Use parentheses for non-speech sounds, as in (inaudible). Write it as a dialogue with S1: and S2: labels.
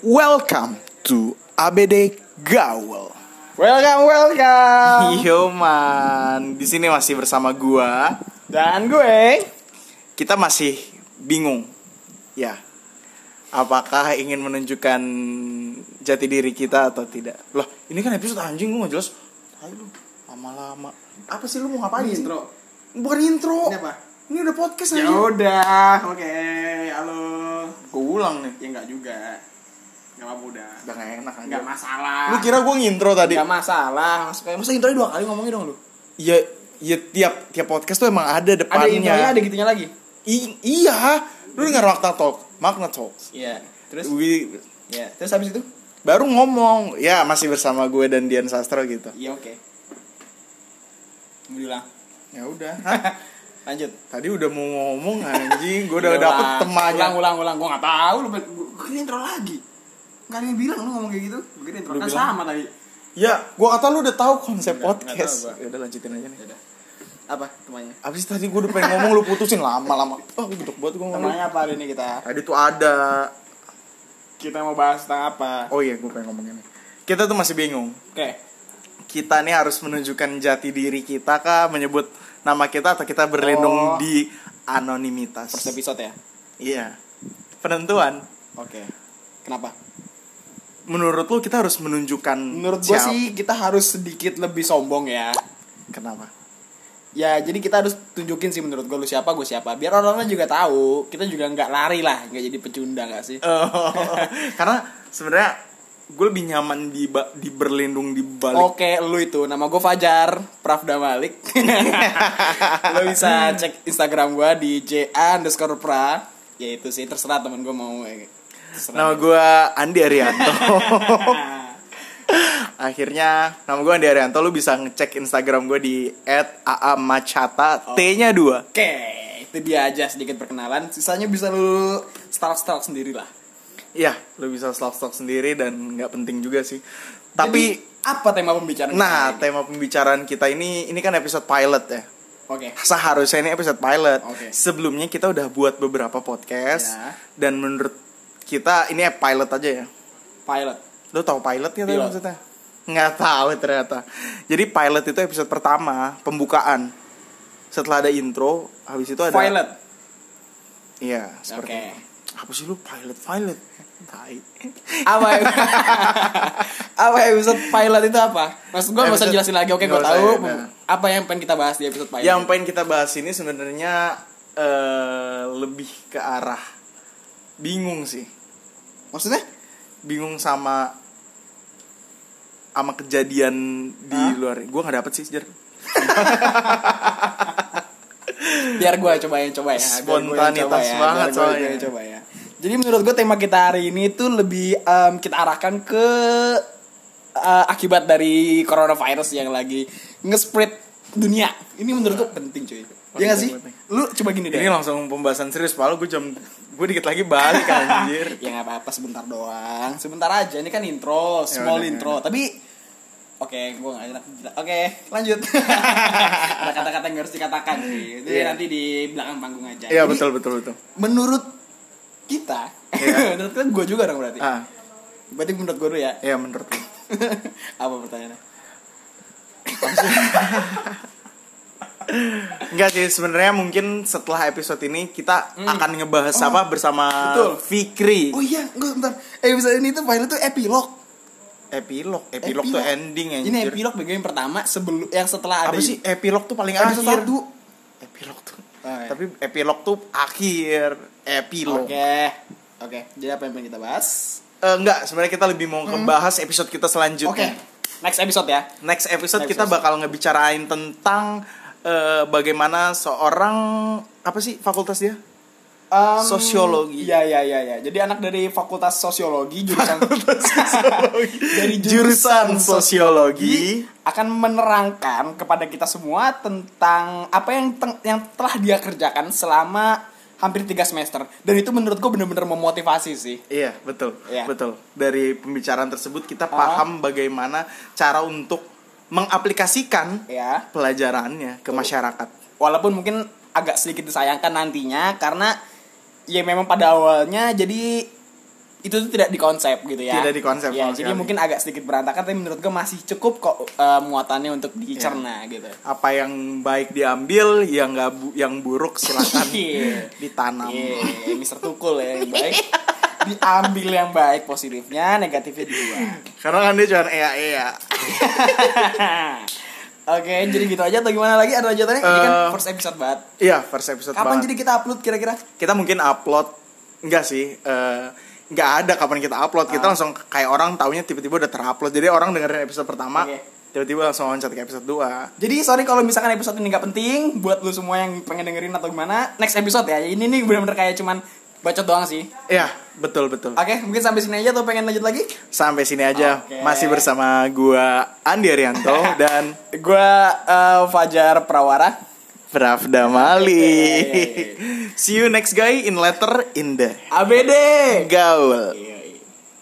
S1: Welcome to ABD Gaul.
S2: Welcome, welcome.
S1: Yo man, di sini masih bersama gua.
S2: Dan gue
S1: Kita masih bingung. Ya. Apakah ingin menunjukkan jati diri kita atau tidak? Loh, ini kan episode anjing lu nggak jelas. Ayo lu lama-lama. Apa sih lu mau ngapain?
S2: intro.
S1: Bukan intro.
S2: Ini apa?
S1: Ini udah podcast
S2: Ya
S1: aja.
S2: udah, oke. Halo.
S1: Gua ulang nih.
S2: Ya enggak juga. Enggak apa-apa udah.
S1: Udah gak enak aja.
S2: Enggak masalah.
S1: Lu kira gua ngintro tadi?
S2: enggak masalah. Maksudnya
S1: Masa intronya dua kali ngomongin dong lu? Ya, ya tiap tiap podcast tuh emang ada
S2: ada
S1: depannya.
S2: intronya, ada gitunya lagi.
S1: I- iya, lu dengar Magna Talk, Magna Talk.
S2: Iya. Terus
S1: Wi-
S2: ya, terus habis itu?
S1: baru ngomong, ya masih bersama gue dan Dian Sastra gitu.
S2: Iya, oke. Alhamdulillah.
S1: Ya udah, Hah?
S2: Lanjut.
S1: tadi udah mau ngomong anjing, gue udah
S2: Ulang.
S1: dapet temannya.
S2: Ulang, ulang, ulang. Gue enggak tahu lu gue kira intro lagi. Enggak ada yang bilang lu ngomong kayak gitu. Gue kira intro
S1: Lu
S2: kan
S1: bilang.
S2: sama tadi.
S1: Ya, gue kata lu udah tahu konsep
S2: Nggak, nggak
S1: podcast.
S2: tahu gua.
S1: Ya udah lanjutin aja nih.
S2: Ya udah. Apa temanya?
S1: Abis tadi gue udah pengen ngomong lu putusin lama-lama. Oh, gue gedek banget gue ngomong.
S2: Temanya apa hari ini kita?
S1: Tadi tuh ada.
S2: Kita mau bahas tentang apa?
S1: Oh iya, gue pengen ngomongin. Kita tuh masih bingung.
S2: Oke.
S1: kita nih harus menunjukkan jati diri kita kah menyebut nama kita atau kita berlindung
S2: Oh.
S1: di anonimitas
S2: First episode ya.
S1: iya penentuan
S2: Oke. Kenapa?
S1: menurut lu kita harus menunjukkan
S2: Menurut gue
S1: siap-
S2: sih kita harus sedikit lebih sombong ya.
S1: kenapa
S2: Ya jadi kita harus tunjukin sih menurut gue lu siapa gue siapa. Biar orang-orang juga tahu. Kita juga nggak lari lah, nggak jadi pecundang gak sih?
S1: Oh, (laughs) karena sebenarnya gue lebih nyaman di ba- di berlindung di balik
S2: Oke, lu itu nama gue Fajar Pravda (laughs) Malik. lu bisa cek Instagram gue di ja underscore pra. Ya itu sih terserah temen gue mau. eh,
S1: nama
S2: Terserah.
S1: gue Andi Arianto (laughs)
S2: Oh.
S1: akhirnya nama gue Andi Arianto lu bisa ngecek Instagram gue di
S2: Oh.
S1: @aamachata t-nya dua
S2: Oke, itu dia aja sedikit perkenalan. Sisanya bisa lu stalk-stalk sendiri lah.
S1: Iya, lu bisa stok-stok sendiri dan nggak penting juga sih. Tapi,
S2: Jadi, apa tema pembicaraan? kita
S1: nah
S2: hari ini?
S1: tema pembicaraan kita ini, ini kan episode pilot ya.
S2: oke.
S1: Seharusnya ini episode pilot.
S2: Oke.
S1: Sebelumnya kita udah buat beberapa podcast
S2: Ya.
S1: dan menurut kita ini pilot aja ya.
S2: Pilot.
S1: Lu tahu pilot nggak tadi
S2: Pilot.
S1: maksudnya? Nggak tahu ternyata. Jadi pilot itu episode pertama pembukaan. Setelah ada intro, habis itu ada.
S2: Pilot.
S1: Iya, seperti
S2: Oke.
S1: itu. Apa sih lu pilot pilot? Tai.
S2: Apa?
S1: (laughs)
S2: apa episode pilot itu apa? Maksud gue nggak usah
S1: Episode-
S2: jelasin lagi. Oke, gue
S1: nggak usah,
S2: tahu.
S1: ya, udah.
S2: Apa yang pengen kita bahas di episode pilot?
S1: Yang pengen kita bahas ini sebenarnya eh, lebih ke arah bingung sih,
S2: maksudnya?
S1: bingung sama sama kejadian di
S2: Hah?
S1: luar. Gue nggak dapet sih, Jer.
S2: Biar gue cobain coba ya. Biar gua yang
S1: Spontanitas
S2: ya.
S1: banget
S2: Biar gua- gua
S1: soalnya.
S2: yang coba ya. Jadi menurut gue tema kita hari ini tuh lebih em, kita arahkan ke eh, akibat dari coronavirus yang lagi nge-spread dunia. Ini menurut gue penting cuy. Ya gak sih?
S1: penting.
S2: Lu coba gini deh.
S1: Ini langsung pembahasan serius, padahal gue jam gue dikit lagi balik
S2: (laughs)
S1: anjir.
S2: ya nggak apa-apa sebentar doang sebentar aja ini kan intro small
S1: Ya udah,
S2: intro tapi oke gue nggak enak gila. oke
S1: (laughs)
S2: lanjut ada kata-kata yang harus dikatakan sih itu
S1: Iya.
S2: nanti di belakang panggung aja
S1: Iya
S2: Jadi,
S1: betul betul betul.
S2: menurut kita
S1: Iya.
S2: (laughs) menurut kita gue juga dong berarti
S1: Ah,
S2: berarti menurut gue dulu ya (laughs)
S1: iya menurut gue.
S2: apa pertanyaannya
S1: Enggak sih sebenarnya mungkin setelah episode ini kita akan ngebahas apa bersama
S2: Hmm. Oh, betul.
S1: Fikri.
S2: oh iya gue bentar episode ini tuh pilot tuh epilog
S1: Epilog, epilog, tuh
S2: Epilog.
S1: ending anjir.
S2: ini epilog bagi yang pertama sebelum yang setelah ada
S1: apa sih epilog tuh paling akhir
S2: episode satu
S1: epilog tuh
S2: Oh, iya.
S1: tapi epilog tuh akhir epilog
S2: oke oke jadi apa yang pengen kita bahas
S1: Eh, enggak sebenarnya kita lebih mau ngebahas episode kita
S2: Hmm. Oke,
S1: selanjutnya
S2: next episode ya.
S1: next episode
S2: Next
S1: kita
S2: episode.
S1: bakal ngebicarain tentang eh, bagaimana seorang apa sih fakultas dia Sosiologi.
S2: Iya iya iya iya. Jadi anak dari Fakultas Sosiologi jurusan (laughs) (laughs)
S1: (laughs)
S2: dari
S1: jurusan sosiologi
S2: akan menerangkan kepada kita semua tentang apa yang teng- yang telah dia kerjakan selama hampir tiga semester. Dan itu menurut gue bener-bener memotivasi sih.
S1: Iya betul
S2: Iya.
S1: betul dari pembicaraan tersebut kita
S2: Ah.
S1: paham bagaimana cara untuk mengaplikasikan
S2: Ya,
S1: pelajarannya ke masyarakat
S2: walaupun mungkin agak sedikit disayangkan nantinya karena ya memang pada awalnya jadi itu tuh tidak di konsep gitu ya
S1: Tidak di konsep
S2: ya
S1: sama
S2: jadi
S1: sekali.
S2: mungkin agak sedikit berantakan tapi menurut gue masih cukup kok eh, muatannya untuk dicerna
S1: Ya.
S2: gitu
S1: apa yang baik diambil yang nggak bu- yang buruk silakan
S2: (laughs) Iya.
S1: ditanam
S2: Iya, Mister Tukul ya yang baik diambil yang baik positifnya negatifnya dibuang
S1: karena kan dia cuma ea ea
S2: (laughs) oke jadi gitu aja atau gimana lagi ada lanjutannya ini kan
S1: Eh,
S2: first episode banget
S1: iya first episode
S2: kapan
S1: banget.
S2: jadi kita upload kira-kira
S1: kita mungkin upload enggak sih eh, nggak ada kapan kita upload kita
S2: Ah.
S1: langsung kayak orang taunya tiba-tiba udah terupload jadi orang dengerin episode pertama
S2: Oke.
S1: tiba-tiba langsung loncat ke episode 2
S2: Jadi sorry kalau misalkan episode ini nggak penting buat lu semua yang pengen dengerin atau gimana next episode ya. Ini nih benar-benar kayak cuman bacot doang sih.
S1: Iya, betul betul.
S2: Oke, mungkin sampai sini aja atau pengen lanjut lagi?
S1: Sampai sini aja.
S2: Oke.
S1: Masih bersama gua Andi Arianto
S2: (laughs)
S1: dan
S2: Gua eh, Fajar Prawara.
S1: Pravda Mali.
S2: Oke.
S1: See you next guy in letter in the
S2: ABD.
S1: gaul.
S2: Iya,